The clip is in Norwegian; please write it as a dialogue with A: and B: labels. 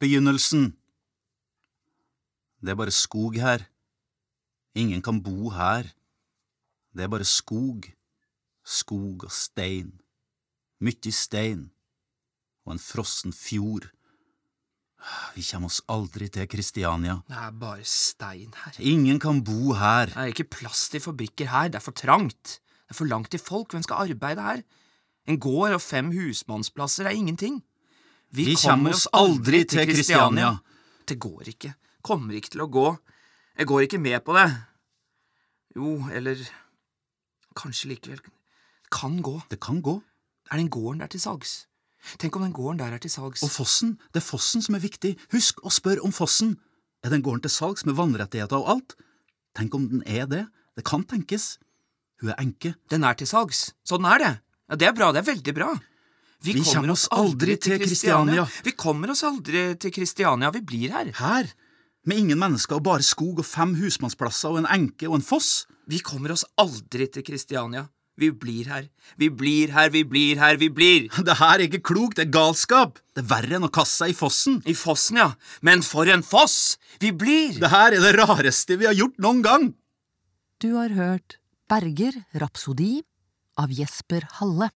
A: begynnelsen. Det er bare skog her. Ingen kan bo her. Det er bare skog, skog og stein, mykje stein, og en frossen fjord. Vi kjem oss aldri til Kristiania.
B: Det er bare stein her.
A: Ingen kan bo her.
B: Det er ikke plass til fabrikker her, det er for trangt. Det er for langt til folk, hvem skal arbeide her? En gård og fem husmannsplasser er ingenting.
A: Vi kommer oss aldri til Kristiania.
B: Det går ikke. Kommer ikke til å gå. Jeg går ikke med på det. Jo, eller Kanskje likevel. Kan gå.
A: Det kan gå.
B: Er den gården der til salgs? Tenk om den gården der er til salgs.
A: Og fossen, det er fossen som er viktig. Husk å spørre om fossen. Er den gården til salgs med vannrettigheter og alt? Tenk om den er det. Det kan tenkes. Hun er enke.
B: Den er til salgs. Sånn er det. Ja, Det er bra. Det er veldig bra.
A: Vi kommer oss aldri til Kristiania.
B: Vi kommer oss aldri til Kristiania. Vi blir her.
A: Her, med ingen mennesker og bare skog og fem husmannsplasser og en enke og en foss.
B: Vi kommer oss aldri til Kristiania. Vi blir her. Vi blir her, vi blir her, vi blir.
A: Det her er ikke klokt, det er galskap. Det er verre enn å kaste seg i fossen.
B: I fossen, ja. Men for en foss! Vi blir!
A: Det her er det rareste vi har gjort noen gang.
C: Du har hørt Berger Rapsodi av Jesper Halle.